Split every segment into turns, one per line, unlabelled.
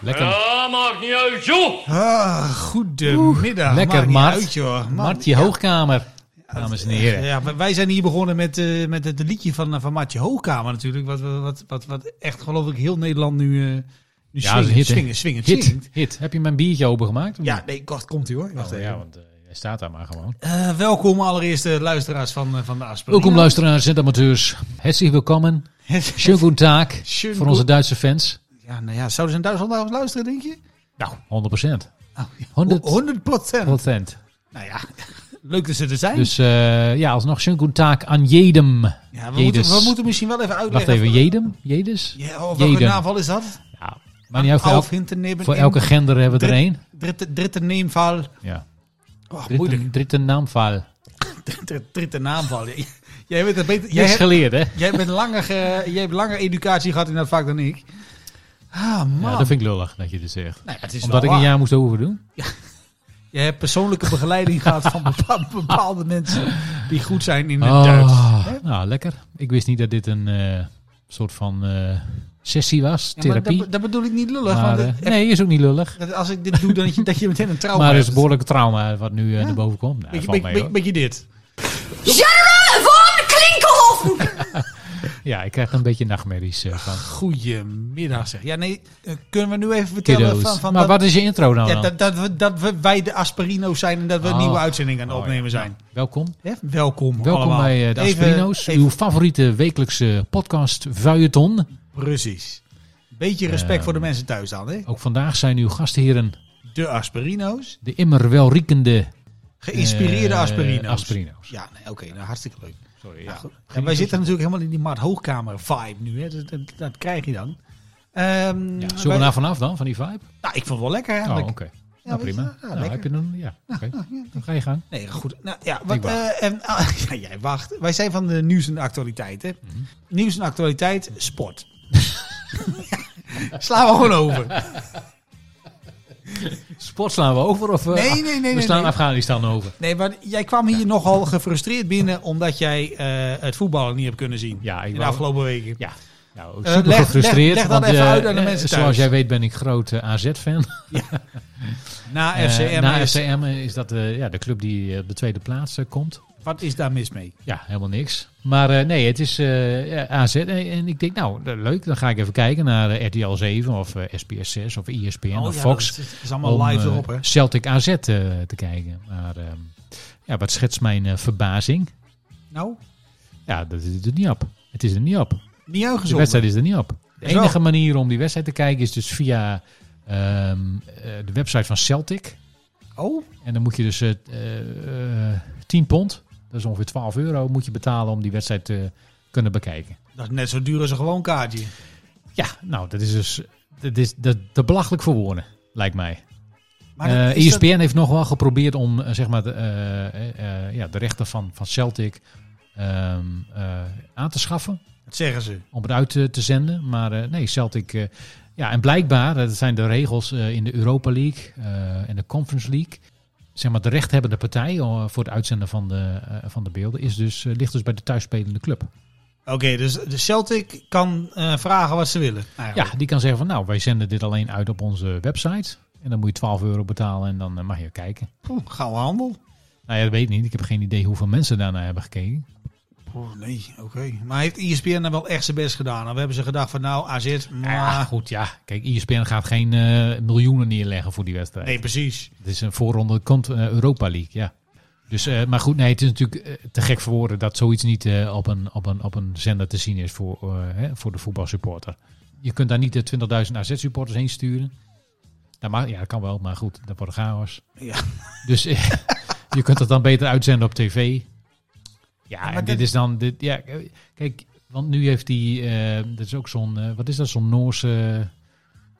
Lekker.
Ja, maakt niet uit, joh.
Ah, goedemiddag.
Lekker,
Maakt niet
Mart.
uit, joh. Man,
Martje Hoogkamer, dames en heren.
Ja, wij- wij zijn hier begonnen met, eh, met het liedje van, eh, van Martje Hoogkamer natuurlijk. Wat, wat, wat, wat echt geloof ik heel Nederland nu, eh nu
Ja, dat is een
swingend,
hit, hè?
swingend, swingend zingt.
Hit, hit. Heb je mijn biertje opengemaakt?
Ja, nee, wacht, komt ie hoor. Wacht
Oh,
even.
ja, want eh, hij staat daar maar gewoon.
Eh, welkom allereerst de luisteraars van, eh, van de afspraak.
Welkom luisteraars en amateurs. Herzlich willkommen. Schönen guten Tag
Schönen
voor onze Duitse fans.
Ja, nou ja, zouden ze in Duitsland naar ons luisteren, denk je?
Nou, 100%.
Oh,
100.
100 procent.
100%.
Nou ja, leuk dat ze er zijn.
Dus eh, ja, alsnog schönen guten Tag aan jedem.
ja, we, moeten, we
Jedes.
moeten misschien wel even
Wacht
uitleggen.
even, jedem? Jedes?
Ja, of welke
Jeden.
naval is dat?
Ja. Maar niet uit, voor, elk-
Hinternehmen.
voor elke gender hebben we er
Drie-
één.
Dritte, dritte neemval.
Ja.
Oh, moeilijk.
Dritten, dritten naamval.
Dritte, dritte naamval. Jij bent, een beter, jij,
Niks
hebt,
geleerd, hè?
jij, bent langer, ge- jij hebt langer educatie gehad in dat vak dan ik. Ah, man.
Ja, dat vind ik lullig dat je dit zegt.
Nou ja, het is
Omdat ik
wel
een
waar.
jaar moest overdoen.
Jij hebt persoonlijke begeleiding gehad van bepaalde, bepaalde mensen die goed zijn in het Duits.
Ah, nou, lekker. Ik wist niet dat dit een eh, soort van eh, sessie was,
Ja, maar
therapie.
dat, dat bedoel ik niet lullig.
Maar,
want
eh,
het- Nou,
nee, is ook niet lullig.
dat als ik dit doe, dan dat je, dat je meteen een trauma
Maar het is
hebt.
een behoorlijk trauma wat nu eh, naar boven komt. Nou,
Beetje,
valt
beetje,
mee,
beetje,
hoor.
beetje dit.
General von Klinkenhoven!
Ja, ik krijg er een beetje nachtmerries eh, van.
Goedemiddag zeg. Ja, nee, eh, kunnen we nu even vertellen
Kiddo's.
van... van
maar
dat-
wat is je intro nou
Ja,
dan?
dat, dat, we, dat we, wij de Asperino's zijn en dat we
Oh.
een nieuwe uitzending aan het
Oh, ja.
opnemen zijn.
Welkom.
Hè? Welkom
Welkom
allemaal.
bij eh de
Even-
Aspirino's,
even-
uw favoriete wekelijkse podcast Vuilleton.
Precies. Beetje
Eh,
respect voor de mensen thuis dan, hè?
Ook vandaag zijn uw gastheren
De Asperino's.
de immer welriekende...
Geïnspireerde
eh,
Asperino's.
Asperino's.
Ja, nee, oké, nou, hartstikke leuk.
Sorry,
Ja, goed. En wij zitten natuurlijk helemaal in die Mart Hoogkamer vibe nu, hè? Dat, dat, dat krijg je dan. Ehm,
Ja, zullen
wij-
we daar vanaf dan, van die vibe?
nou, ik vond het wel lekker
Oh,
eigenlijk.
oké. nou,
weet je,
prima.
ja,
nou,
lekker.
heb je dan... Ja, oké. Dan ga je gaan.
Nee, goed. Nou ja, wat,
wacht.
eh, en, ah, ja, jij wacht. Wij zijn van de nieuws en de actualiteit, hè?
Mhm.
Nieuws en actualiteit, sport. Slaan we gewoon over.
Sport slaan we over of... eh,
Nee, nee, nee,
We
nee,
slaan
nee.
Afghanistan over.
Nee, maar jij kwam hier nogal gefrustreerd binnen omdat jij eh, het voetballen niet hebt kunnen zien
Ja, ik
in de
wou-
afgelopen weken.
Ja. Nou,
Eh,
super
leg-
gefrustreerd.
leg- leg dat
want,
even
eh,
uit aan de
eh,
mensen
Zoals
thuis.
jij weet ben ik groot eh, AZ-fan.
Na
Eh,
FCM,
na
is-
FCM is dat eh, ja, de club die eh, op de tweede plaats eh, komt.
wat is daar mis mee?
Ja, helemaal niks. Maar eh, nee, het is eh, ja, AZ. En, en ik denk, nou, eh, leuk. Dan ga ik even kijken naar eh, RTL 7 of eh, SBS 6 of ESPN of
Oh, ja,
Fox.
dat is, is allemaal live
eh,
erop, hè?
Celtic AZ eh, te kijken. Maar ehm, ja, wat schetst mijn eh, verbazing?
Nou,
Ja, dat is er niet op. Het is er niet op.
niet
De
uitgezonden.
wedstrijd is er niet op. De
Zo.
enige manier om die wedstrijd te kijken is dus via ehm, eh, de website van Celtic.
Oh,
En dan moet je dus eh eh, eh, 10 pond, dat is ongeveer 12 euro, moet je betalen om die wedstrijd te kunnen bekijken.
dat is net zo duur als een gewoon kaartje.
Ja, nou, dat is dus dat is, dat, te belachelijk voor woorden, lijkt mij.
Maar
Eh,
dat- is dat-
ESPN heeft nog wel geprobeerd om eh, zeg maar, de, eh, eh, eh, ja, de rechten van, van Celtic ehm, eh, aan te schaffen.
dat zeggen ze.
om het uit eh, te zenden. Maar eh, nee, Celtic. eh, ja, en blijkbaar, eh, dat zijn de regels eh, in de Europa League eh, en de Conference League. Zeg maar, de rechthebbende partij eh, voor het uitzenden van de, eh, van de beelden is dus, eh, ligt dus bij de thuisspelende club.
Oké, dus de Celtic kan eh, vragen wat ze willen. eigenlijk.
Ja, die kan zeggen van nou, wij zenden dit alleen uit op onze website. En dan moet je 12 euro betalen en dan eh, mag je kijken.
Oeh, gouden handel.
Nou ja, dat weet ik niet. Ik heb geen idee hoeveel mensen daarnaar hebben gekeken.
Oh, nee, oké. Maar heeft E ESPN dan wel echt zijn best gedaan? Dan hebben ze gedacht van nou, AZ, maar...
Ja, goed, ja. Kijk, E ESPN gaat geen eh, miljoenen neerleggen voor die wedstrijd.
nee, precies.
Het is een voorronde kant eh, Europa League, ja. Dus, eh, maar goed, nee, het is natuurlijk eh, te gek voor woorden dat zoiets niet eh, op, een, op, een, op een zender te zien is voor, eh, hè, voor de voetbalsupporter. Je kunt daar niet eh, de 20.000 AZ-supporters heen sturen. Nou, maar, ja, dat kan wel, maar goed, dat wordt chaos.
Ja.
Dus eh, je kunt het dan beter uitzenden op tv. Ja,
maar
en
dat-
dit is dan... Dit, ja, eh, kijk, want nu heeft die... eh dat is ook zo'n... eh, wat is dat? Zo'n Noorse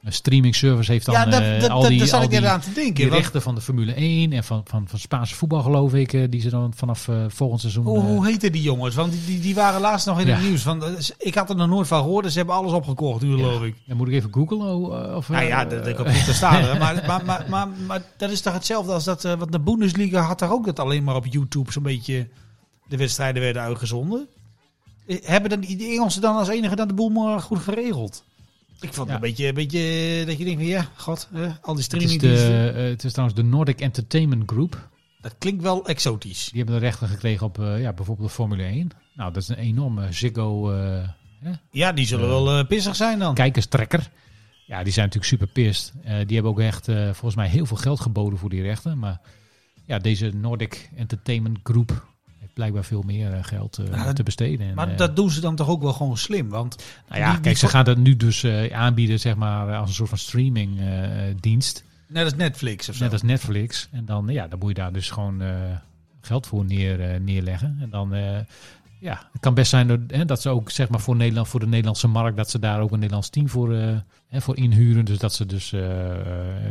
eh, streaming service heeft dan
ja, dat,
eh,
dat,
al
dat-
die...
daar zat
al
ik
die,
even aan te denken.
die
want
rechten van de Formule 1 en van, van, van Spaanse voetbal, geloof ik, eh, die ze dan vanaf eh, volgend seizoen.
hoe,
eh,
hoe heten die jongens? Want die, die, die waren laatst nog in het
Ja.
nieuws. Van, eh, ik had er nog nooit van gehoord. Dus ze hebben alles opgekocht nu, geloof ik.
dan moet ik even googlen. oh, eh, of,
Nou
eh,
ja, dat, dat kan niet te staan. hè. Maar, maar, maar, maar, maar dat is toch hetzelfde als dat... eh, want de Bundesliga had daar ook dat alleen maar op YouTube zo'n beetje... de wedstrijden werden uitgezonden. Eh, Hebben dan die die Engelsen dan als enige dat de boel maar goed geregeld? Ik vond het
Ja.
een beetje, een beetje eh, dat je denkt van ja, god, eh, al die
Het is,
streaming.
de, eh, het is trouwens de Nordic Entertainment Group.
Dat klinkt wel exotisch.
Die hebben de rechten gekregen op eh, ja, bijvoorbeeld de Formule 1. Nou, dat is een enorme Ziggo eh,
Ja, die zullen
Ja.
wel eh, pissig zijn dan.
kijkerstrekker. Ja, die zijn natuurlijk super pist. die hebben ook echt eh, volgens mij heel veel geld geboden voor die rechten. Maar ja, deze Nordic Entertainment Group heeft blijkbaar veel meer eh, geld eh,
Ja,
te besteden. En,
maar
eh,
Nou, dat doen ze dan toch ook wel gewoon slim. Want
nou ja,
die- die
kijk, ze
vo-
gaan dat nu dus eh, aanbieden zeg maar, eh, als een soort van streamingdienst. dienst.
net als Netflix of zo.
net als Netflix. En dan, eh, ja, dan moet je daar dus gewoon eh, geld voor neer, eh, neerleggen. En dan, eh, ja, het kan best zijn dat, hè, dat ze ook zeg maar voor, Nederland, voor de Nederlandse markt, dat ze daar ook een Nederlands team voor, eh, hè, voor inhuren. Dus dat ze dus eh, eh,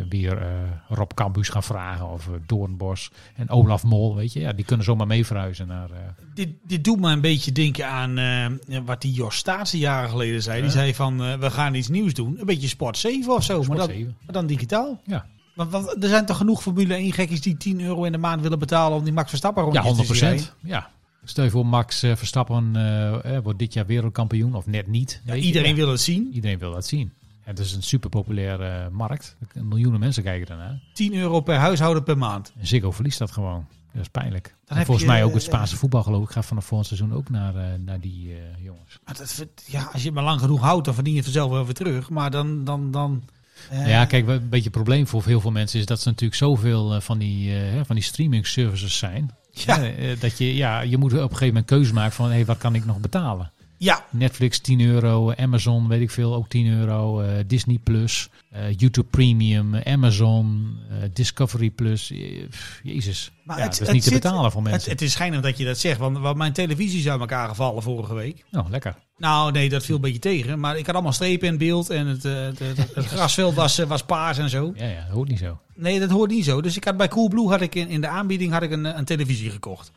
weer eh, Rob Campus gaan vragen of eh, Doornbos en Olaf Mol, weet je. Ja, die kunnen zomaar mee verhuizen naar... eh,
Dit, dit doet me een beetje denken aan eh, wat die Jos Staatsen jaren geleden zei. Die
Ja.
zei van, eh, we gaan iets nieuws doen. Een beetje Sport 7 of zo, maar,
Sport
dat,
7.
maar dan digitaal.
Ja.
Want, want er zijn toch genoeg Formule 1 gekkies die 10 euro in de maand willen betalen om die Max Verstappen
Ja,
rondjes
100
te zien rijden?
Ja. Stel je voor, Max eh, Verstappen eh, eh, wordt dit jaar wereldkampioen of net niet.
Ja,
weet je.
iedereen
Ja.
wil het zien.
Iedereen wil dat zien. Het is een super populaire markt. Miljoenen mensen kijken daarnaar.
10 euro per huishouden per maand.
En Ziggo verliest dat gewoon. Dat is pijnlijk. En
heb
volgens
je,
mij ook
eh,
het Spaanse voetbal geloof ik. Gaat vanaf volgend seizoen ook naar, eh, naar die eh, jongens.
Maar dat, vind- ja, als je het maar lang genoeg houdt, dan verdien je het vanzelf wel weer terug. Maar dan... dan, dan eh,
ja, kijk, wat een beetje het probleem voor heel veel mensen is dat ze natuurlijk zoveel eh, van die, eh, hè, van die streaming services zijn.
Ja.
Eh, eh, dat je, ja, je moet op een gegeven moment keuze maken van hey, wat kan ik nog betalen.
ja,
Netflix 10 euro, Amazon weet ik veel, ook 10 euro, eh, Disney Plus, eh, YouTube Premium, eh, Amazon, eh, Discovery Plus. eh, pff, jezus,
Maar
ja,
het-
dat is
het
niet
zit-
te betalen voor
het,
mensen.
het is schijnend dat je dat zegt. Want, want mijn televisie is uit elkaar gevallen vorige week.
nou, lekker.
Nou, nee, dat viel een beetje tegen. Maar ik had allemaal strepen in beeld en het, eh, het, het- het grasveld was, eh, was paars en zo.
Ja, ja, dat hoort niet zo.
Nee, dat hoort niet zo. Dus ik had bij Coolblue had ik in, in de aanbieding had ik een, eh, een televisie gekocht.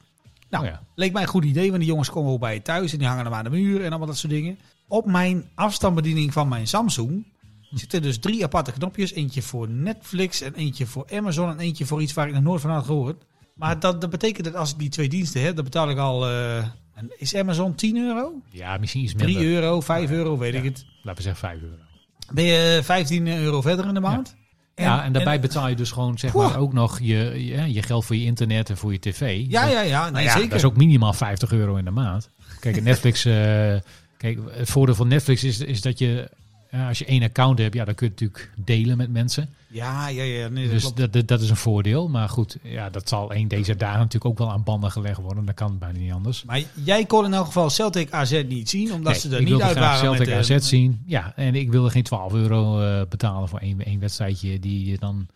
Nou,
Oh ja.
leek mij een goed idee, want die jongens komen ook bij je thuis en die hangen hem aan de muur en allemaal dat soort dingen. Op mijn afstandsbediening van mijn Samsung zitten dus drie aparte knopjes. Eentje voor Netflix en eentje voor Amazon en eentje voor iets waar ik nog nooit van had gehoord. Maar dat, dat betekent dat als ik die twee diensten heb, dan betaal ik al... eh, en is Amazon 10 euro?
Ja, misschien iets
3
minder.
euro, 5 euro, weet ik het.
Laten we zeggen 5 euro.
Ben je 15 euro verder in de maand?
ja, en daarbij betaal je dus gewoon zeg
Poeh.
maar ook nog je, je, je geld voor je internet en voor je tv.
Ja,
Dat-
ja, ja.
Nou
Nee,
ja,
zeker.
dat is ook minimaal 50 euro in de maand. Kijk, en Netflix. eh, kijk, het voordeel van Netflix is, is dat je. ja, als je één account hebt, ja, dan kun je het natuurlijk delen met mensen.
Ja, ja, ja. Nee, dat
Dus
klopt.
dat, dat, dat is een voordeel. Maar goed, ja, dat zal één deze dagen natuurlijk ook wel aan banden gelegd worden. Dat kan bijna niet anders.
Maar jij kon in elk geval Celtic AZ niet zien, omdat
Nee,
ze er
ik
niet
wilde
uit
graag
waren.
Celtic
met,
AZ
eh,
zien. Ja, en ik wilde geen 12 euro eh, betalen voor één, één wedstrijdje die je dan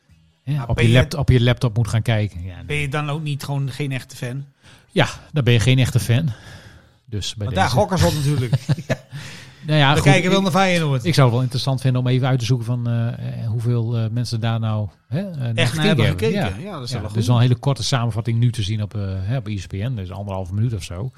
hè,
Maar
op,
ben
je
je-
laptop, op je laptop moet gaan kijken. Ja,
Ben
nee.
je dan ook niet gewoon geen echte fan?
ja, dan ben je geen echte fan. Dus bij
Want
deze.
daar gokken ze op natuurlijk.
nou ja,
We
goed,
kijken wel
ik-
naar Feyenoord.
Ik zou het wel interessant vinden om even uit te zoeken van eh, eh, hoeveel eh, mensen daar nou hè, eh, naar
Echt naar hebben gekeken. Ja,
Ja.
dat is
Ja, dus
wel
er
goed.
is al een hele korte samenvatting nu te zien op, eh hè, op ESPN, dus anderhalve minuut of zo.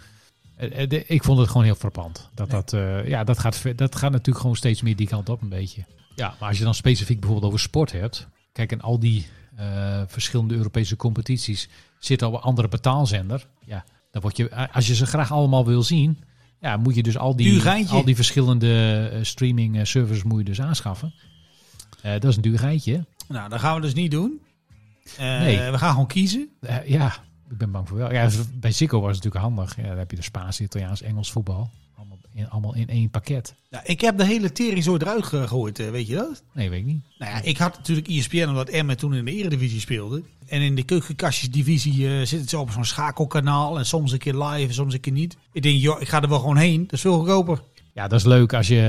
Eh, eh, de- ik vond het gewoon heel frappant. Dat, dat, eh, ja, dat, gaat, ver- dat gaat natuurlijk gewoon steeds meer die kant op een beetje. Ja, maar als je dan specifiek bijvoorbeeld over sport hebt. Kijk, en al die eh, verschillende Europese competities zitten op een andere betaalzender. Ja, dan word je, eh, als je ze graag allemaal wil zien, ja, moet je dus al
Duur
die,
geintje.
al die verschillende eh, streaming eh, services moet je dus aanschaffen. Eh, dat is een duur geintje.
Nou, dat gaan we dus niet doen. Eh,
Nee.
We gaan gewoon kiezen.
Eh, ja, ik ben bang voor wel. Ja, bij Zico was het natuurlijk handig. Ja, daar heb je de Spaans, Italiaans, Engels voetbal. Allemaal in, allemaal in één pakket.
Nou, ik heb de hele tering zo eruit gegooid, eh, weet je dat?
Nee, weet ik niet.
Nou ja, ik had natuurlijk ESPN omdat Emmen toen in de eredivisie speelde. En in de keukenkastjesdivisie eh zit het zo op zo'n schakelkanaal. En soms een keer live en soms een keer niet. Ik denk, joh, ik ga er wel gewoon heen. Dat is veel goedkoper.
Ja, dat is leuk als je,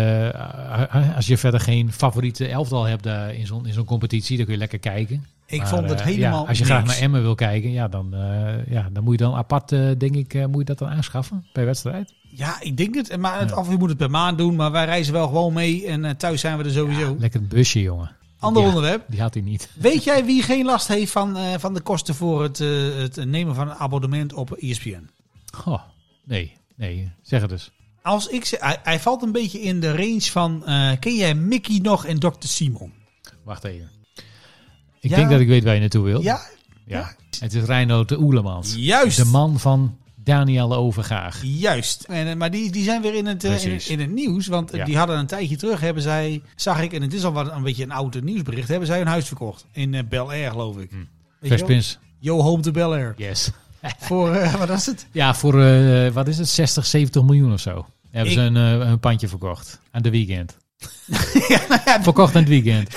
eh, als je verder geen favoriete elftal hebt eh, in zo'n in zo'n competitie. Dan kun je lekker kijken.
Ik
Maar,
vond het
eh,
helemaal
ja, Als je
niks.
graag naar Emmen wil kijken, ja, dan, eh, ja, dan moet je dan apart, eh, denk ik, eh, moet je dat dan aanschaffen per wedstrijd.
Ja, ik denk het. Maar het
Ja.
af en toe moet het per maand doen. Maar wij reizen wel gewoon mee. En eh, thuis zijn we er sowieso.
Lekker het busje, jongen.
Ander
ja.
onderwerp.
Die had hij niet.
Weet jij wie geen last heeft van, eh, van de kosten voor het, eh, het nemen van een abonnement op E ESPN?
Goh, Oh, nee, nee, zeg het dus.
Als ik ze, hij, hij valt een beetje in de range van... eh, ken jij Mickey nog en Dr. Simon?
Wacht even. Ik
Ja.
denk dat ik weet waar je naartoe wilt.
Ja,
Ja. Het is Reinoud de Oelemans.
Juist.
De man van Daniel Overgaag.
Juist. En, eh, maar die, die zijn weer in het, eh, in, het-
Precies.
in het nieuws. Want eh,
Ja.
die hadden een tijdje terug, hebben zij, zag ik, en het is al wat, een beetje een oud eh, nieuwsbericht, hebben zij hun huis verkocht. In eh, Bel Air, geloof
Hm.
ik. Weet je wel?
Verspins.
Yo home to Bel Air.
Yes.
Voor, eh, wat was het?
Ja, voor eh, wat is het? 60, 70 miljoen of zo. Hebben
Ik-
ze een, eh, een pandje verkocht. Aan de weekend.
nou
Verkocht aan het weekend.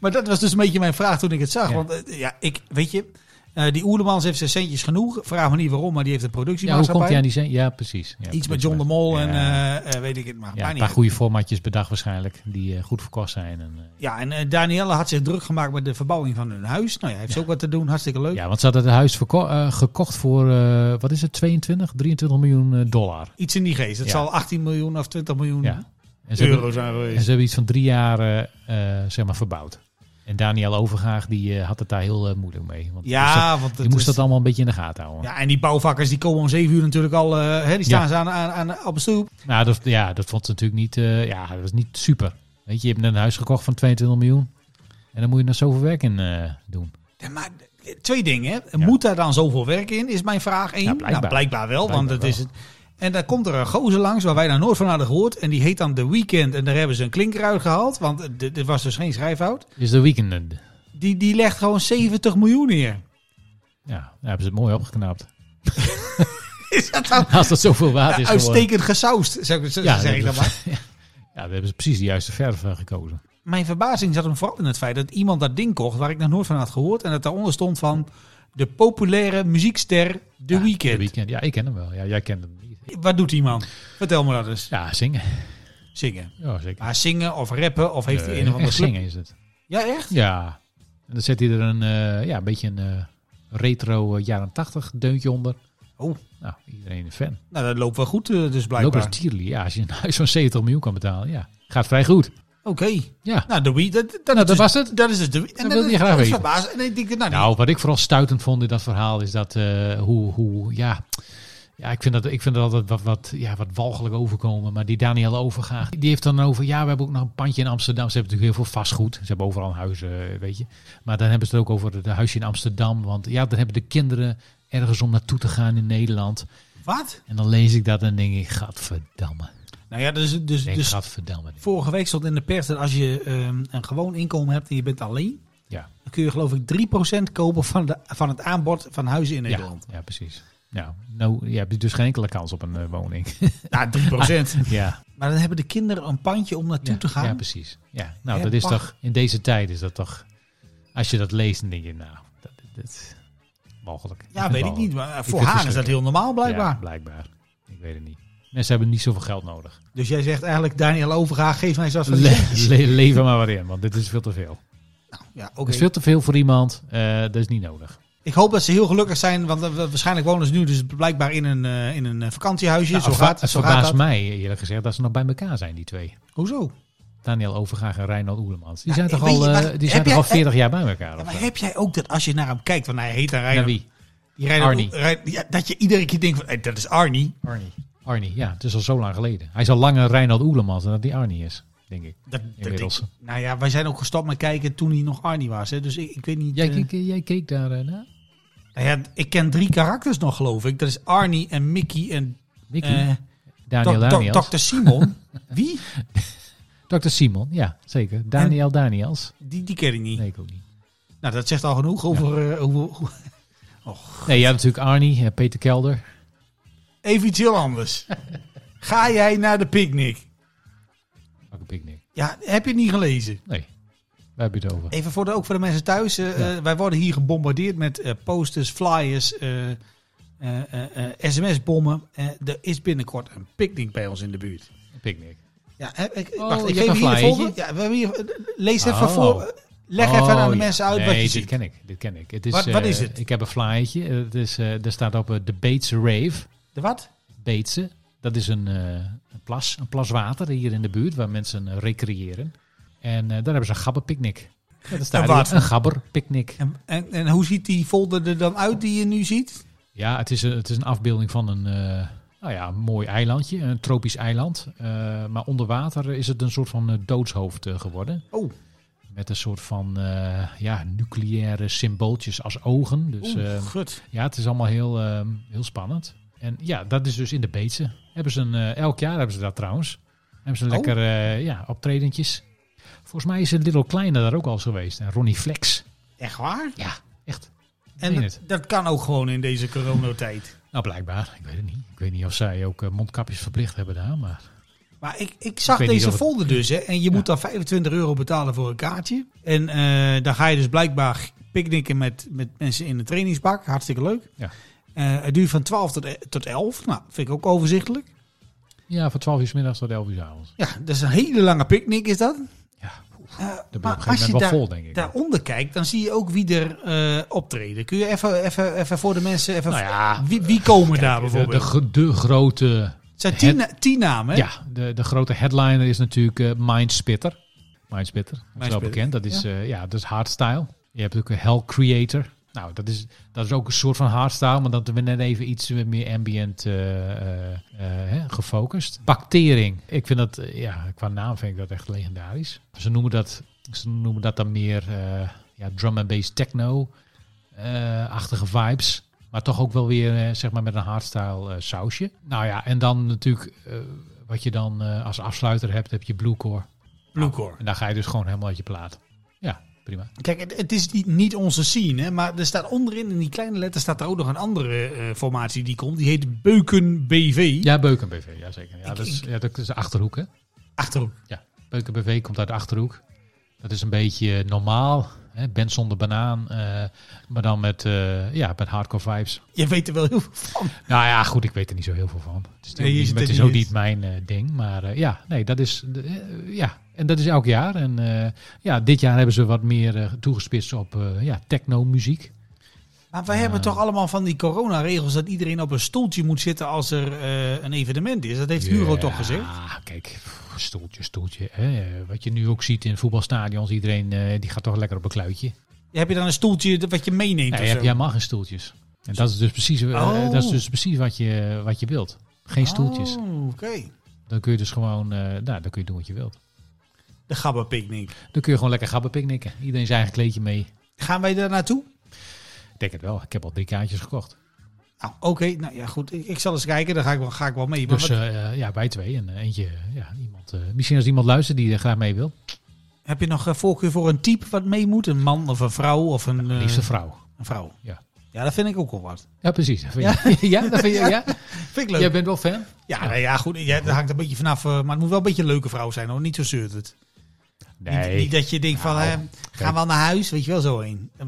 Maar dat was dus een beetje mijn vraag toen ik het zag.
Ja.
Want eh, ja, ik, weet je, eh, die Oerlemans heeft zijn centjes genoeg. Vraag me niet waarom, maar die heeft een
Ja, hoe
productiemaatschappij.
komt hij aan die zijn? Ja, precies. Ja,
Iets met
precies.
John de Mol en
Ja.
eh, eh, weet ik het maar.
Ja,
maar
een
niet.
paar goede formatjes bedacht waarschijnlijk. Die eh, goed verkocht zijn. En, eh,
ja, en eh, Danielle had zich druk gemaakt met de verbouwing van hun huis. Nou ja, heeft ze ook wat te doen. Hartstikke leuk.
ja, want ze hadden het huis verko- eh, gekocht voor, eh, wat is het, 22, 23 miljoen eh, dollar.
Iets in die geest. Het
Ja.
zal 18 miljoen of 20 miljoen
Ja. En ze, hebben,
euro zijn
en
geweest.
ze hebben iets van drie jaar eh, eh, zeg maar, verbouwd. En Daniel Overgaag die, eh, had het daar heel eh, moeilijk mee. Want die moest dus dat-
Ja, want
die
het
moest
is-
dat allemaal een beetje in de gaten houden.
ja, en die bouwvakkers die komen om 7 uur natuurlijk al. eh, hè, die staan
Ja.
ze aan, aan, aan, op de stoep.
Nou, dat, ja, dat vond ze natuurlijk niet, eh, ja, dat was niet super. Weet je, je hebt net een huis gekocht van 22 miljoen. En dan moet je nog zoveel werk in eh, doen.
Ja, Maar eh, twee dingen. Hè.
Ja.
Moet daar dan zoveel werk in? Is mijn vraag één.
Ja, blijkbaar.
Nou, blijkbaar wel, want
Blijkbaar
dat is
wel.
het. En dan komt er een gozer langs waar wij nou nooit van hadden gehoord. En die heet dan The Weekend. En daar hebben ze een klinker uitgehaald. Want eh, dit, dit was dus geen schrijfhout.
Dus de weekend,
Die, die legt gewoon 70 miljoen neer.
ja, daar hebben ze het mooi opgeknapt.
Is dat dan
Als dat zoveel waard is geworden.
uitstekend gesausd? Zeg, zeg,
Ja,
zeg
dat
ik dan
is-
maar.
Ja, daar hebben ze precies de juiste verf eh, gekozen.
Mijn verbazing zat hem vooral in het feit dat iemand dat ding kocht waar ik nog nooit van had gehoord. En dat daaronder stond van de populaire muziekster The
Ja,
Weeknd.
De weekend. Ja, ik ken hem wel. Ja, jij kent hem niet.
Wat doet die man? Vertel me dat eens.
Ja, zingen.
Zingen.
Ja, zeker.
Maar zingen of rappen of heeft hij
Eh,
een of andere
echt
club?
zingen is het.
Ja, echt?
Ja. En dan zet hij er een, eh, ja, een beetje een eh, retro eh, jaren 80 deuntje onder.
Oh.
Nou, iedereen een fan.
Nou, dat loopt wel goed eh, dus
Loop
blijkbaar.
als
Oké.
tierly. Ja, als je een huis van 70 miljoen kan betalen. Ja, gaat vrij goed. Ja.
Nou, The Weeknd. Dat, dat,
Nou, dat
is-
was het.
Dat is dus The Weeknd. En
Dat wilde je graag
is
weten.
verbazing. En ik denk, nou, die-
Nou, wat ik vooral stuitend vond in dat verhaal is dat eh, hoe, hoe ja, ja, ik vind dat, ik vind dat altijd wat, wat, ja, wat walgelijk overkomen. Maar die Daniel Overgaag, die heeft dan over, ja, we hebben ook nog een pandje in Amsterdam. Ze hebben natuurlijk heel veel vastgoed. Ze hebben overal een huis, eh, weet je. Maar dan hebben ze het ook over het huisje in Amsterdam. Want ja, dan hebben de kinderen ergens om naartoe te gaan in Nederland.
wat?
En dan lees ik dat en denk ik, gadverdamme.
Nou ja, dus, dus,
Ik Denk,
dus
gadverdamme.
vorige week stond in de pers dat als je ehm, een gewoon inkomen hebt en je bent alleen,
Ja,
dan kun je geloof ik 3% kopen van, de, van het aanbod van huizen in
ja,
Nederland.
ja, precies. Nou, nou, je hebt dus geen enkele kans op een eh, woning.
Nou, 3
ja.
maar dan hebben de kinderen een pandje om naartoe
ja,
te gaan.
Ja, precies. Ja, nou,
Hè,
dat is
pach.
toch, in deze tijd is dat toch, als je dat leest, dan denk je, nou, dat, dat is mogelijk.
Ja, weet ik niet. Maar eh, voor
vind het
haar is dat heel normaal blijkbaar.
Ja, blijkbaar. Ik weet het niet. Mensen hebben niet zoveel geld nodig.
Dus jij zegt eigenlijk, Daniel Overgaag, geef mij zelfs van die
Le
centjes.
le- leef er maar wat in, want dit is veel te veel.
Ja, oké.
Het is veel te veel voor iemand. eh, dat is niet nodig.
Ik hoop dat ze heel gelukkig zijn, want eh, waarschijnlijk wonen ze nu dus blijkbaar in een, eh, in een eh, vakantiehuisje.
Nou,
zo
het ver-
gaat,
het
zo gaat
verbaast
dat.
mij eerlijk gezegd dat ze nog bij elkaar zijn, die twee.
Hoezo?
Daniel Overgaag en Reinald Oelemans. Die
Ja,
zijn
ik
toch
weet
al,
niet,
eh,
maar
die
heb
zijn toch
jij-
al 40 jaar bij elkaar?
Ja,
of
maar
zo?
heb jij ook dat als je naar hem kijkt, want hij heet dan
Naar
Reiner,
wie?
die Reiner-
Arnie.
Rein- ja, dat je iedere keer denkt van, hey, dat is Arnie.
Arnie. Arnie, ja, het is al zo lang geleden. Hij is al langer Reinald Oelemans dan dat die Arnie is, denk ik.
Dat, dat
Inmiddels.
denk ik- nou ja, wij zijn ook gestopt met kijken toen hij nog Arnie was. Hè? Dus ik, ik weet niet...
Jij,
eh,
keek, jij keek daar eh, naar?
nou ja, ik ken drie karakters nog, geloof ik. Dat is Arnie en Mickey en
Mickey?
eh
Daniel
Dok- Dok-
Daniels.
Dr. Simon. Wie?
Dr. Simon, ja, zeker. Daniel Daniels.
Die, die ken ik niet.
Nee, ik ook niet.
Nou, dat zegt al genoeg over... eh, hoe- hoe-
Nee, je hebt natuurlijk Arnie, eh, Peter Kelder.
Even iets heel anders. Ga jij naar de picknick?
Pak een picknick.
Ja, heb je het niet gelezen?
Nee, waar heb je het over?
Even voor de, ook voor de mensen thuis. eh,
Ja.
eh, wij worden hier gebombardeerd met eh, posters, flyers, eh, eh, eh, eh, sms-bommen. Eh, er is binnenkort een picknick bij ons in de buurt.
Een picknick.
Ja, hè, ik,
Oh,
wacht,
je
ik
hebt
geef
een
hier de
flyertje?
folder. Ja, we hebben hier, eh, lees even
Oh.
voor. Leg even aan de mensen uit
nee,
wat je
dit
ziet.
ken ik. Dit ken ik. Het is,
Wat- wat
eh,
is het?
Ik heb een flyertje. Eh, Het is, eh er staat op eh, de Beetse Rave.
De wat?
Beetse. Dat is een, eh, een plas, een plas water hier in de buurt waar mensen eh, recreëren. En eh, daar hebben ze een gabberpicknick. Ja, dat staat
Een
hier.
wat?
Een gabberpicknick.
En, en, en hoe ziet die folder er dan uit die je nu ziet?
Ja, het is, een- het is een afbeelding van een, eh, nou ja, een mooi eilandje, een tropisch eiland. Eh, maar onder water is het een soort van eh, doodshoofd eh, geworden.
Oh.
Met een soort van eh, ja, nucleaire symbooltjes als ogen. Dus
Oeh,
eh,
gut.
ja, het is allemaal heel, ehm, heel spannend. En ja, dat is dus in de Beetse. Hebben ze een, eh, elk jaar hebben ze dat trouwens. Hebben ze
Oh.
lekker eh ja, optredentjes. Volgens mij is het Little Kleine daar ook al eens geweest. En Ronnie Flex.
Echt waar?
Ja, echt. Ik
En
meen
dat,
het.
dat kan ook gewoon in deze coronatijd.
Nou, blijkbaar. Ik weet het niet. Ik weet niet of zij ook eh, mondkapjes verplicht hebben daar. Maar
Maar ik, ik zag
weet niet
deze
of het-
folder dus. Hè, en je moet dan 25 euro betalen voor een kaartje. En eh, dan ga je dus blijkbaar picknicken met, met mensen in een trainingsbak. Hartstikke leuk.
Ja.
Eh, het duurt van 12 tot, eh, tot 11. Nou, vind ik ook overzichtelijk.
ja, van 12 uur 's middags tot 11 uur 's avonds.
Ja, dat is een hele lange picknick is dat.
Ja,
Eh,
dan ben je
maar
op een
als
gegeven
je
moment wel vol,
daar-
denk ik.
daaronder kijkt, dan zie je ook wie er eh, optreden. Kun je even, even, even voor de mensen... Even
Nou ja,
wie, wie komen daar
de, de,
bijvoorbeeld?
gro- de grote
het zijn tien, na- tien namen. hè?
Ja, de, de grote headliner is natuurlijk eh Mindspitter. Mindspitter, dat is wel
Mindspitter,
bekend. Dat is, eh, ja, dat is hardstyle. Je hebt ook een Hell Creator. Nou, dat is, dat is ook een soort van hardstyle, maar dan we net even iets meer ambient eh, eh, eh, hè, gefocust. Bactering. Ik vind dat, eh, ja, qua naam vind ik dat echt legendarisch. Ze noemen dat, ze noemen dat dan meer eh, ja, drum and bass techno-achtige vibes. Maar toch ook wel weer, eh, zeg maar, met een hardstyle eh, sausje. Nou ja, en dan natuurlijk eh, wat je dan eh, als afsluiter hebt, heb je Bluecore.
Bluecore.
En daar ga je dus gewoon helemaal uit je plaat. Ja, prima.
Kijk, het, het is niet, niet onze scene, hè, maar er staat onderin in die kleine letter staat er ook nog een andere eh, formatie die komt. Die heet Beuken BV.
Ja, Beuken BV, ja zeker. Ja,
Ik-
dat, is,
ik-
ja, dat is de Achterhoek, hè?
Achterhoek.
Beuken BV komt uit de Achterhoek. Dat is een beetje eh, normaal, hè? Band zonder banaan, eh, maar dan met, eh, ja, met hardcore vibes.
Je weet er wel heel veel van.
Nou ja, goed, ik weet er niet zo heel veel van. Het is,
Nee,
ook
je
niet-
zit
het
er
is
niet
ook
in.
niet mijn eh, ding. Maar eh, ja, nee, dat is, de- eh, ja, en dat is elk jaar. En eh, ja, dit jaar hebben ze wat meer eh, toegespitst op eh, ja, techno-muziek.
Maar wij hebben toch allemaal van die coronaregels dat iedereen op een stoeltje moet zitten als er eh, een evenement is. Dat heeft Hugo toch gezegd?
Ja, kijk, pff, stoeltje, stoeltje. Hè. Wat je nu ook ziet in voetbalstadions, iedereen eh, die gaat toch lekker op een kluitje.
Heb je dan een stoeltje dat- wat je meeneemt
Nee,
of
je
zo?
hebt- jij mag geen stoeltjes. En dat is dus precies, eh,
Oh.
dat is dus precies wat, je, wat je wilt. Geen stoeltjes.
Oh, Oké.
Dan kun je dus gewoon, eh, nou, dan kun je doen wat je wilt.
De Gabba Picnic.
Dan kun je gewoon lekker gabben picknicken. Iedereen zijn eigen kleedje mee.
Gaan wij daar naartoe?
Ik denk het wel. Ik heb al drie kaartjes gekocht.
Nou, oké. Nou ja, goed. Ik, ik zal eens kijken. Daar ga ik wel, ga ik wel mee. Maar
Dus
wat-
eh, eh, ja, wij twee en eh, eentje. Ja, iemand, eh, misschien als iemand luistert die er graag mee wil.
heb je nog eh, voorkeur voor een type wat mee moet? Een man of een vrouw of een... eh,
Liefste vrouw.
Een vrouw.
Ja.
Ja, dat vind ik ook wel wat.
Ja, precies. Dat vind je- ja, dat vind je, ja?
Vind ik leuk.
Jij
Ja,
bent wel fan?
nou ja goed. Ja, dat hangt een beetje vanaf. eh, Maar het moet wel een beetje een leuke vrouw zijn hoor. Niet zo zeurt het. Niet, niet dat je denkt van,
Nou,
eh, gaan we al naar huis? Weet je wel, zo heen. Eh,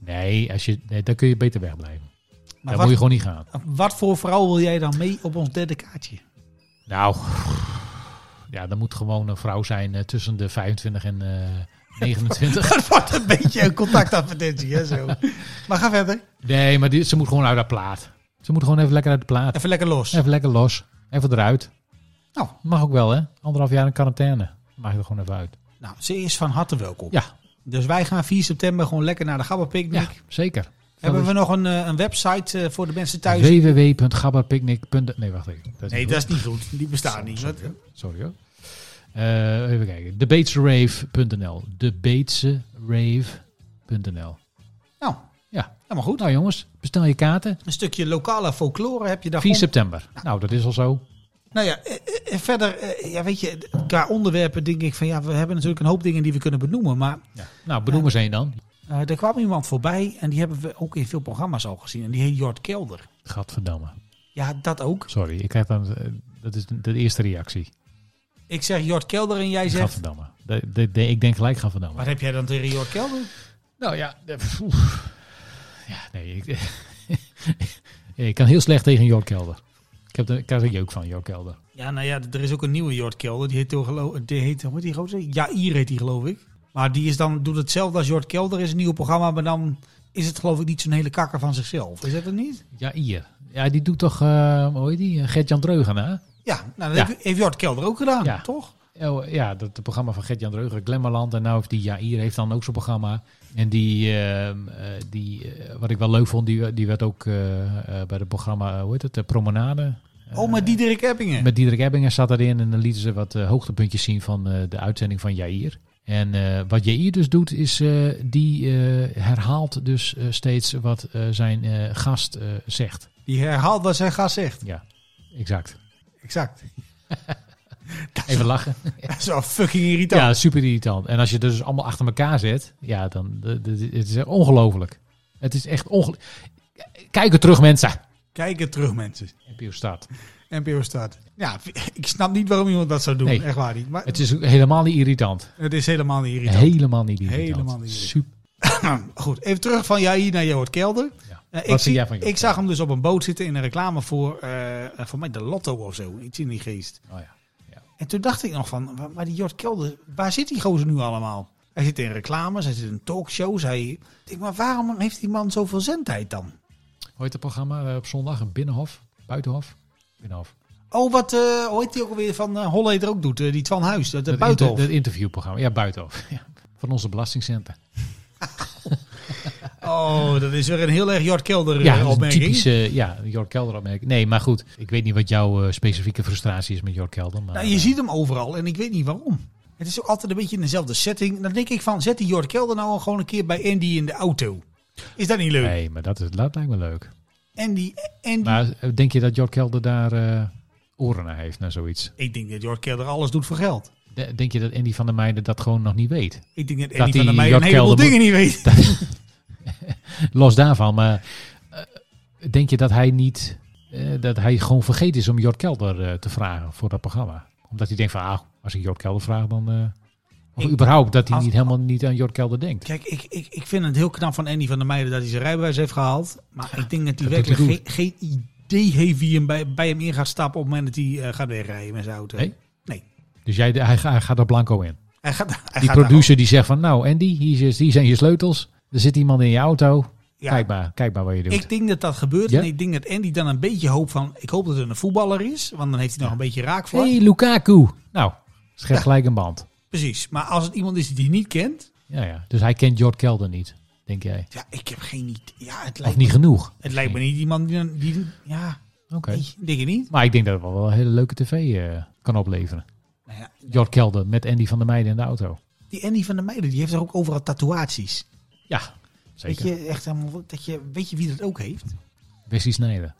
Nee, als je, nee, dan kun je beter wegblijven.
Maar
Dan
wat,
moet je gewoon niet gaan.
wat voor vrouw wil jij dan mee op ons derde kaartje?
Nou, ja, dan moet gewoon een vrouw zijn eh, tussen de 25 en eh, 29.
Dat wordt een beetje een contactadvertentie, hè, zo. Maar ga verder.
Nee, maar die, ze moet gewoon uit haar plaat. Ze moet gewoon even lekker uit de plaat.
Even lekker los.
Even lekker los. Even eruit.
Nou.
Mag ook wel, hè? Anderhalf jaar in quarantaine. Mag je er gewoon even uit.
Nou, ze is van harte welkom.
Ja,
Dus wij gaan 4 september gewoon lekker naar de Gabba
ja
Picnic.
zeker.
Hebben we nog een, eh, een website eh, voor de mensen thuis?
www.gabberpicnic.nl Nee, wacht even. Dat is
Nee,
niet
dat
goed.
is niet goed. Die bestaat niet. Wat-
Sorry hoor. Eh, even kijken. Debatesrave.nl. Debatesrave.nl.
Nou,
Ja.
helemaal goed.
Nou jongens, bestel je kaarten.
Een stukje lokale folklore heb je daar
4
gewoon.
september. Nou, dat is al zo.
Nou ja, eh, eh, eh, verder, eh, ja, weet je, qua onderwerpen denk ik van ja, we hebben natuurlijk een hoop dingen die we kunnen benoemen. Maar
Nou, benoem eens één dan.
eh, er kwam iemand voorbij en die hebben we ook in veel programma's al gezien. En die heet Jort Kelder.
Gadverdamme.
Ja, dat ook.
Sorry, ik krijg dan... eh, Dat is de de eerste reactie.
Ik zeg Jort Kelder en jij zegt.
Gadverdamme. De, de, de- ik denk gelijk gadverdamme.
Wat heb jij dan tegen Jort Kelder?
Nou ja, eh, oef. ja nee, ik, ik kan heel slecht tegen Jork Kelder. Ik, heb de, ik krijg er jeuk van, Jork Kelder.
Ja, nou ja, d- er is ook een nieuwe Jort Kelder. Die heet, toch gelo- die heet hoe heet die gozer? Jair heet die geloof ik. Maar die is dan, doet hetzelfde als Jort Kelder. Is een nieuw programma, maar dan is het geloof ik niet zo'n hele kakker van zichzelf. Is dat het niet?
Ja, hier. Ja, die doet toch, eh hoe heet die? Gert-Jan Dreugen, hè?
Ja, nou, dat
Ja.
heeft- heeft Jort Kelder ook gedaan,
Ja.
toch?
Oh, Ja, dat het programma van Gert-Jan Dreugen, Glemmerland. En nou heeft die Jair heeft dan ook zo'n programma. En die, ehm, eh, die eh, wat ik wel leuk vond, die, die werd ook eh, eh, bij het programma, eh, hoe heet het, de Promenade. eh,
oh, maar Diederik Eppingen.
Met Diederik Ebbingen zat daarin en dan lieten ze wat eh, hoogtepuntjes zien van eh, de uitzending van Jair. En eh, wat JI dus doet, is eh, die eh, herhaalt dus eh, steeds wat eh, zijn eh, gast eh, zegt.
Die herhaalt wat zijn gast zegt.
Ja, exact.
Exact.
Even lachen.
Dat is wel fucking irritant.
Ja, super irritant. En als je dus allemaal achter elkaar zet, ja, dan d- d- het is echt ongelooflijk. Het is echt ongelooflijk. Kijk er terug, mensen.
Kijk het terug, mensen.
NPO staat.
NPO staat. Ja, ik snap niet waarom iemand dat zou doen.
Nee.
Echt waar niet. Maar
Het is helemaal niet irritant.
het is helemaal niet irritant.
Helemaal niet irritant.
Helemaal niet irritant.
Super.
Goed, even terug van Jair naar Jood Kelder.
Ja.
Eh,
Wat
ik, zie-
vind jij van Joop?
ik zag hem dus op een boot zitten in een reclame voor, eh, eh, voor mij de Lotto of zo. Iets in die geest.
Oh ja.
En toen dacht ik nog van, wa- maar die Jort Kelder, waar zit die gozer nu allemaal? Hij zit in reclames, hij zit in talkshows. Hij... Ik denk, maar waarom heeft die man zoveel zendtijd dan?
Hoe heet het programma eh, op zondag? Een binnenhof? Buitenhof? Binnenhof.
Oh, wat eh hoe heet die ook alweer van eh Holle er ook doet? eh, die Twan Huis, dat, dat
Het
buitenhof.
inter- het interviewprogramma. Ja, Buitenhof. Ja. Van onze belastingcenten.
Oh, dat is weer een heel erg Jort Kelder eh,
Ja, dat is een
opmerking.
typische ja, Jork Kelder opmerking. Nee, maar goed. Ik weet niet wat jouw eh, specifieke frustratie is met Jork Kelder. Maar,
Nou, je ziet hem overal en ik weet niet waarom. Het is ook altijd een beetje in dezelfde setting. Dan denk ik van, zet die Jort Kelder nou gewoon een keer bij Andy in de auto. Is dat niet leuk?
Nee, maar dat, is, dat lijkt me leuk.
Andy, Andy.
Maar eh, denk je dat Jork Kelder daar eh, oren naar heeft, naar zoiets?
Ik denk dat Jort Kelder alles doet voor geld.
De- denk je dat Andy van der Meijden dat gewoon nog niet weet?
Ik denk dat
Dat
Andy
die
van der Meij een
Jort
heleboel
Kelder
dingen niet weet.
Los daarvan, maar eh, denk je dat hij niet... eh, dat hij gewoon vergeten is om Jork Kelder eh, te vragen voor dat programma? Omdat hij denkt van, ah, als ik Jork Kelder vraag, dan... eh, of
Ik-
überhaupt, dat hij
als-
niet helemaal niet aan Jork Kelder denkt.
Kijk, ik, ik, ik vind het heel knap van Andy van der Meijden dat hij zijn rijbewijs heeft gehaald. Maar ik denk dat
Dat doet
hij werkelijk
hij
geen, geen idee heeft wie hem bij, bij hem in gaat stappen op het moment dat hij eh, gaat wegrijden met zijn auto.
Nee?
Nee.
Dus jij, hij, ga- hij gaat er blanco in.
Hij gaat, hij
Die
gaat daar
producer die zegt van, nou Andy, hier, is, hier zijn je sleutels. Er zit iemand in je auto.
Ja.
Kijk, maar, kijk maar wat je doet.
Ik denk dat dat gebeurt.
Ja?
En ik denk dat Andy dan een beetje hoopt van... Ik hoop dat het een voetballer is. Want dan heeft hij nog een beetje raak voor.
hey, Lukaku. Nou, schep gelijk een band.
Precies. Maar als het iemand is die hij niet kent...
Ja, ja. Dus hij kent Jord Kelder niet, denk jij.
Ja, ik heb geen idee. Ja, het
Of
lijkt,
niet genoeg.
het lijkt me niet iemand die... dan- die ja,
Oké.
nee, denk ik niet.
Maar ik denk dat het wel wel een hele leuke tv eh, kan opleveren.
Nou ja,
Jord Kelder met Andy van der Meijden in de auto.
die Andy van der Meijden, die heeft er ook overal tatoeaties.
Ja,
Weet
zeker.
je, echt helemaal, dat je, weet je wie dat ook heeft?
Wesley Snijder.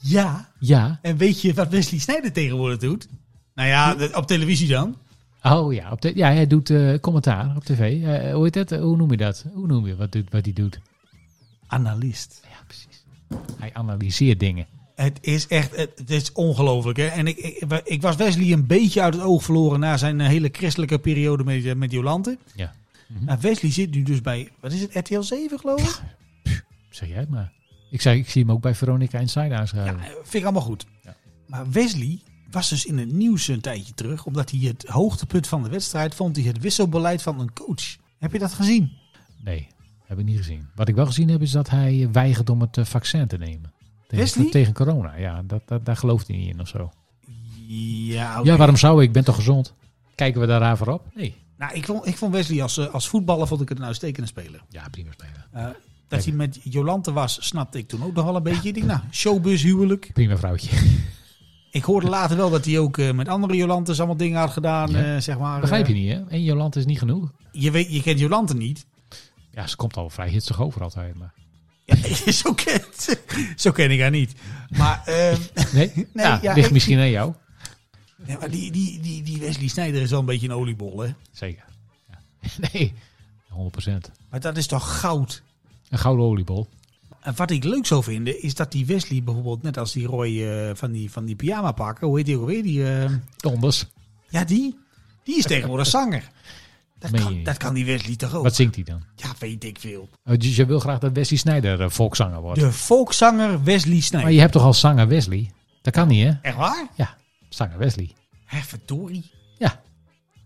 Ja.
Ja.
En weet je wat Wesley Snijder tegenwoordig doet? Nou ja, dat- op televisie dan.
Oh ja, op de, ja hij doet eh, commentaar op tv. Eh, hoe heet dat? Hoe noem je dat? Hoe noem je wat, doet- wat hij doet?
Analist.
Ja, precies. Hij analyseert dingen.
Het is echt, het, het is ongelooflijk. Hè? En ik, ik, ik was Wesley een beetje uit het oog verloren na zijn eh, hele christelijke periode met, eh, met Jolante.
Ja.
Maar Wesley zit nu dus bij, wat is het, RTL 7 geloof ik?
Zeg jij het maar. Ik, zei, ik zie hem ook bij Veronica Inside aanschrijven.
Eh, Vind ik allemaal goed.
Ja.
Maar Wesley was dus in het nieuws een tijdje terug, omdat hij het hoogtepunt van de wedstrijd vond, hij het wisselbeleid van een coach. Heb je dat gezien?
Nee, heb ik niet gezien. Wat ik wel gezien heb is dat hij weigert om het eh, vaccin te nemen.
Wesley?
Tegen, tegen corona, ja. Dat, dat, daar gelooft hij niet in of zo.
Ja, oké.
Ja, waarom zou ik? Ik ben toch gezond? Kijken we daar raar voor op? Nee.
Nou, ik vond, ik vond Wesley als, eh, als voetballer vond ik het een uitstekende speler.
Ja, prima speler.
Eh, dat hij met Jolante was, snapte ik toen ook nog wel een beetje. Ik denk, nou, showbus, huwelijk.
Prima vrouwtje.
Ik hoorde later wel dat hij ook eh, met andere Jolantes allemaal dingen had gedaan,
Ja.
eh, zeg maar.
Begrijp je niet, hè? En Jolante is niet genoeg.
Eh, je, weet, je kent Jolante niet.
Ja, ze komt al vrij hitsig over altijd. Maar...
Ja, zo, kent, zo ken ik haar niet. Maar, ehm,
Nee? nee ja,
ja,
ligt
ik-
misschien aan jou.
ja, maar die, die, die, die Wesley Snijder is wel een beetje een oliebol, hè?
Zeker. Ja. Nee, 100%.
Maar dat is toch goud?
Een gouden oliebol.
En wat ik leuk zou vinden, is dat die Wesley bijvoorbeeld, net als die Roy eh, van, die, van die pyjama pakken, hoe heet die ook weer? Die, eh,
Donders.
ja, die, die is tegenwoordig zanger. Dat
Meen je
kan,
niet?
dat kan die Wesley toch ook?
Wat zingt hij dan?
Ja, weet ik veel.
Oh, Dus je wil graag dat Wesley Snijder eh, volkszanger wordt.
De volkszanger Wesley
Maar
Snijder.
je hebt toch al zanger Wesley? Dat kan niet, hè?
Echt waar?
Ja, zanger Wesley.
Hé, verdorie.
Ja.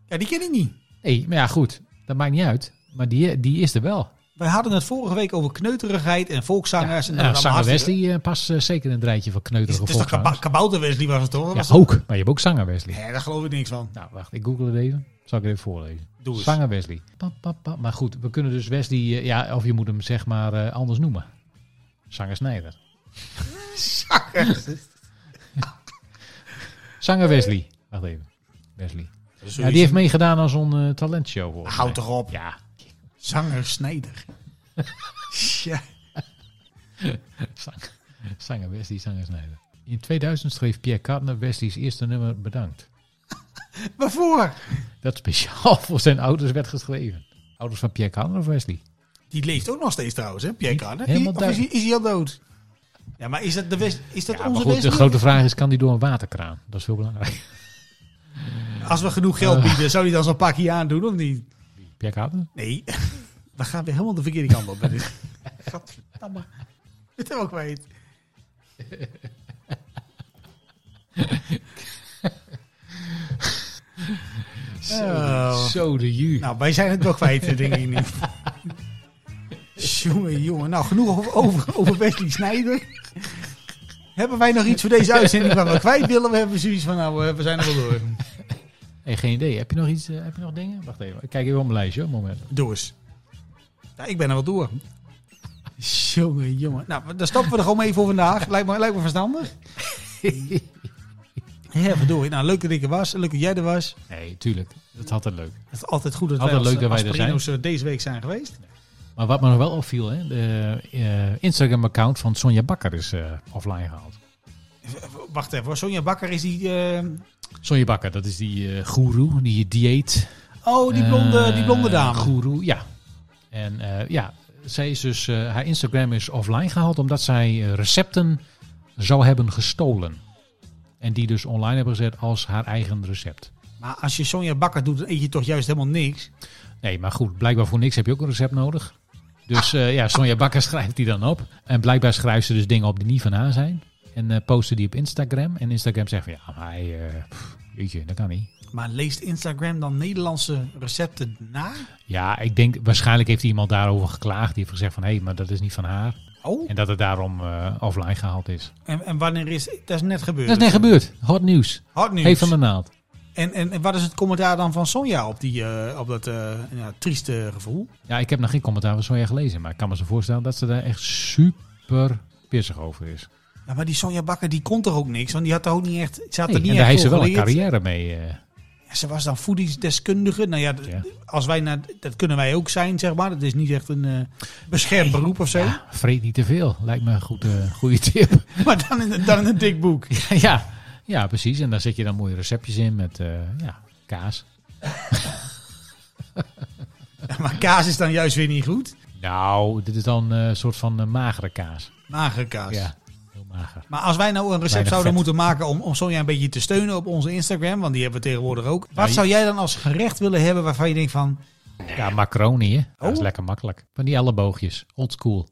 Ja, die ken ik niet.
Nee, maar ja, goed. Dat maakt niet uit. Maar die, die is er wel.
Wij hadden het vorige week over kneuterigheid en volkszangers. en
Ja,
dat
zanger
allemaal hartstikke-
Wesley eh, past eh, zeker in het rijtje van
Is,
kneuterige
het is toch kaba-
volksgangers.
kabouter Wesley was het toch?
Ja,
Was het-
ook. Maar je hebt ook zanger Wesley.
Nee, daar geloof ik niks van.
Nou, wacht. Ik google het even. Zal ik het even voorlezen.
Doe eens.
Zanger Wesley. Pa, pa, pa. Maar goed, we kunnen dus Wesley... eh, ja, of je moet hem zeg maar eh, anders noemen. Zanger Snijder.
Zanger.
Zanger Wesley. Wacht even. Wesley. Ja, die heeft meegedaan aan zo'n eh, talentshow. volgens
Houd
mij.
toch op.
Ja,
Zanger Snijder. ja.
zang- zanger Wesley Zangersnijder. In 2000 schreef Pierre Cardin Wesley's eerste nummer Bedankt.
Waarvoor?
Dat speciaal voor zijn ouders werd geschreven. Ouders van Pierre Cardin of Wesley?
Die leeft ook nog steeds trouwens, hè? Pierre Cardin.
helemaal
Of is, hij, is hij al dood? Ja, maar is dat, de West, is dat
Ja, maar
onze
goed, de
Wesley?
grote vraag is, kan die door een waterkraan? Dat is heel belangrijk.
Als we genoeg geld bieden, zou hij dan zo'n pakje aandoen of niet?
Pierre Cardin?
Nee, we gaan weer helemaal de verkeerde kant op. met dit. Gadverdamme. Dit hebben we ook kwijt. Oh.
Zo de ju.
Nou, wij zijn het wel kwijt, denk ik niet. Jongen, jongen. Nou, genoeg over, over, over Wesley Snijder. Hebben wij nog iets voor deze uitzending waar we kwijt willen? We hebben zoiets van, nou, eh, we zijn er wel door.
Hey, geen idee. Heb je nog iets? eh, heb je nog dingen? Wacht even. Ik kijk even op mijn lijstje. hoor, Moment.
Doe eens. Ja, ik ben er wel door. Jongen, jongen. Nou, dan stappen we er gewoon mee voor vandaag. Lijkt me, lijkt me verstandig. Ja, verdorie. Nou, leuk dat ik er was. Leuk dat jij er was.
Nee, tuurlijk. Dat had het leuk.
Het is altijd goed dat
Altijd
wij als,
leuk dat wij
als
er zijn.
Perino's, eh, deze week zijn geweest.
Maar wat me nog wel opviel, hè, de eh, Instagram-account van Sonja Bakker is eh, offline gehaald.
Wacht even hoor. Sonja Bakker is die... eh,
Sonja Bakker, dat is die eh, goeroe, die dieet.
Oh, die blonde,
eh,
die blonde dame.
Goeroe, ja. En eh, ja, zij is dus, eh, haar Instagram is offline gehaald omdat zij eh, recepten zou hebben gestolen. En die dus online hebben gezet als haar eigen recept.
Maar als je Sonja Bakker doet, dan eet je toch juist helemaal niks.
Nee, maar goed, blijkbaar voor niks heb je ook een recept nodig. Dus eh, ja, Sonja Bakker schrijft die dan op. En blijkbaar schrijft ze dus dingen op die niet van haar zijn. En eh posten die op Instagram. En Instagram zegt van ja, maar hij, eh, pff, jeetje, dat kan niet.
Maar leest Instagram dan Nederlandse recepten na?
Ja, ik denk waarschijnlijk heeft iemand daarover geklaagd. Die heeft gezegd van hé, maar dat is niet van haar.
Oh,
En dat het daarom eh, offline gehaald is.
en, en wanneer is... Dat is net gebeurd.
Dat is net gebeurd. Hot nieuws.
Hard nieuws.
Heeft van de naald.
En, en, en wat is het commentaar dan van Sonja op, die, eh, op dat eh, ja, trieste gevoel?
Ja, ik heb nog geen commentaar van Sonja gelezen. Maar ik kan me zo voorstellen dat ze daar echt super pissig over is.
Ja, maar die Sonja Bakker, die kon toch ook niks? Want die had er ook niet echt... Ze had
Nee,
er niet
en
echt
daar heeft
veel
ze wel een
geleerd.
carrière mee. eh,
Ja, ze was dan voedingsdeskundige. Nou ja, d-
Ja.
Als wij naar, dat kunnen wij ook zijn, zeg maar. Dat is niet echt een eh, beschermd beroep of zo.
Ja, vreet niet te veel. Lijkt me een goede, goede tip.
Maar dan in, dan in een dik boek.
ja, ja, precies. En daar zet je dan mooie receptjes in met eh, ja, kaas.
Maar kaas is dan juist weer niet goed.
Nou, dit is dan eh, een soort van eh, magere kaas.
Magere kaas.
Ja, heel mager.
Maar als wij nou een recept
Weinig
zouden
vet.
moeten maken om, om Sonja een beetje te steunen op onze Instagram, want die hebben we tegenwoordig ook. Wat
Nou, je-
zou jij dan als gerecht willen hebben waarvan je denkt van,
Ja, macaroni, hè? Dat is
Oh.
lekker makkelijk. Van die elleboogjes. Old school.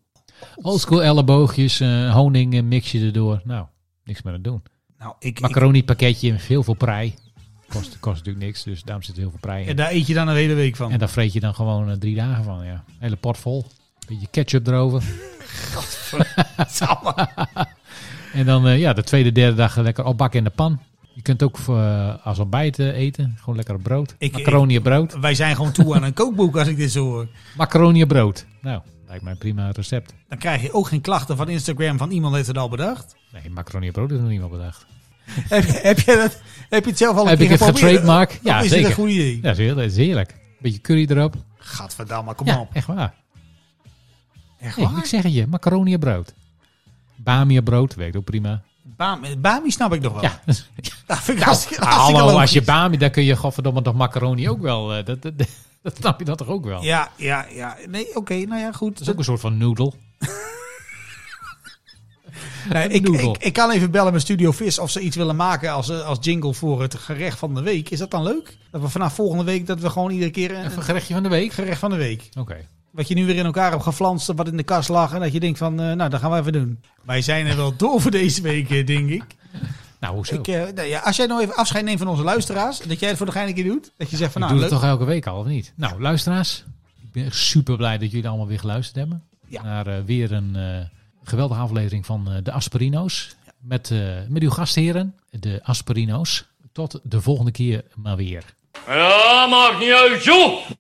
Old school elleboogjes, eh, honing, eh, mix je erdoor. Nou, niks meer aan doen.
nou ik, ik-
Macaroni pakketje, heel veel prei. Kost, kost natuurlijk niks, dus daarom zit er heel veel prei in.
ja, daar eet je dan een hele week van.
En daar vreet je dan gewoon eh, drie dagen van, ja. Hele pot vol. Beetje ketchup erover. En dan eh, ja, de tweede, derde dag lekker opbakken in de pan. Je kunt ook eh, als ontbijt eh, eten. Gewoon lekker op brood.
Ik-
macaroni op brood.
Wij zijn gewoon toe aan een kookboek als ik dit zo hoor.
Macaroni op brood. Nou, lijkt mij een prima recept.
Dan krijg je ook geen klachten van Instagram van iemand heeft het al bedacht.
Nee, macaroni op brood is nog niet wel bedacht.
heb, je- heb, je dat, heb je het zelf al een
Heb
keer
ik het
geprobeerd?
getrademark?
Of
Ja,
is dit
zeker.
een goed idee?
Ja, dat is heel- dat is heerlijk. Beetje curry erop.
Gadverdamme, kom
Ja,
op.
echt waar.
Echt
Nee,
waar?
ik zeg het je. Macaroni op brood. Bami op brood, werkt ook prima.
Bami, Bami snap ik nog wel.
Ja.
Oh.
Nou,
Dat vind ik hartstikke, hartstikke
Hallo, als
logisch.
je bami, dan kun je godverdomme toch macaroni ook wel. eh, Dat, dat, dat, dat snap je dat toch ook wel?
Ja, ja, ja. Nee, oké, nou ja, goed.
Dat is ook een soort van noedel.
Nee, ik,
Noedel.
ik, ik kan even bellen met Studio Vis of ze iets willen maken als, eh, als jingle voor het gerecht van de week. Is dat dan leuk? Dat we vanaf volgende week dat we gewoon iedere keer een,
Even
een
gerechtje van de week.
gerecht van de week.
Oké.
Wat je nu weer in elkaar hebt geflanst, wat in de kast lag. En dat je denkt van, eh, nou, dat gaan we even doen. Wij zijn er wel door voor deze week, eh, denk ik.
Nou, hoezo?
ik eh, nou ja, als jij nou even afscheid neemt van onze luisteraars. Dat jij het voor de gein een keer doet. Dat je zegt van,
ik
nou,
doe
leuk.
het toch elke week al, of niet? Nou, luisteraars, ik ben echt super blij dat jullie allemaal weer geluisterd hebben.
Ja.
Naar eh, weer een eh, geweldige aflevering van eh, de Asperino's. Met, eh, met uw gastheren, de Asperino's. Tot de volgende keer maar weer.
Ja, maakt niet uit, joh!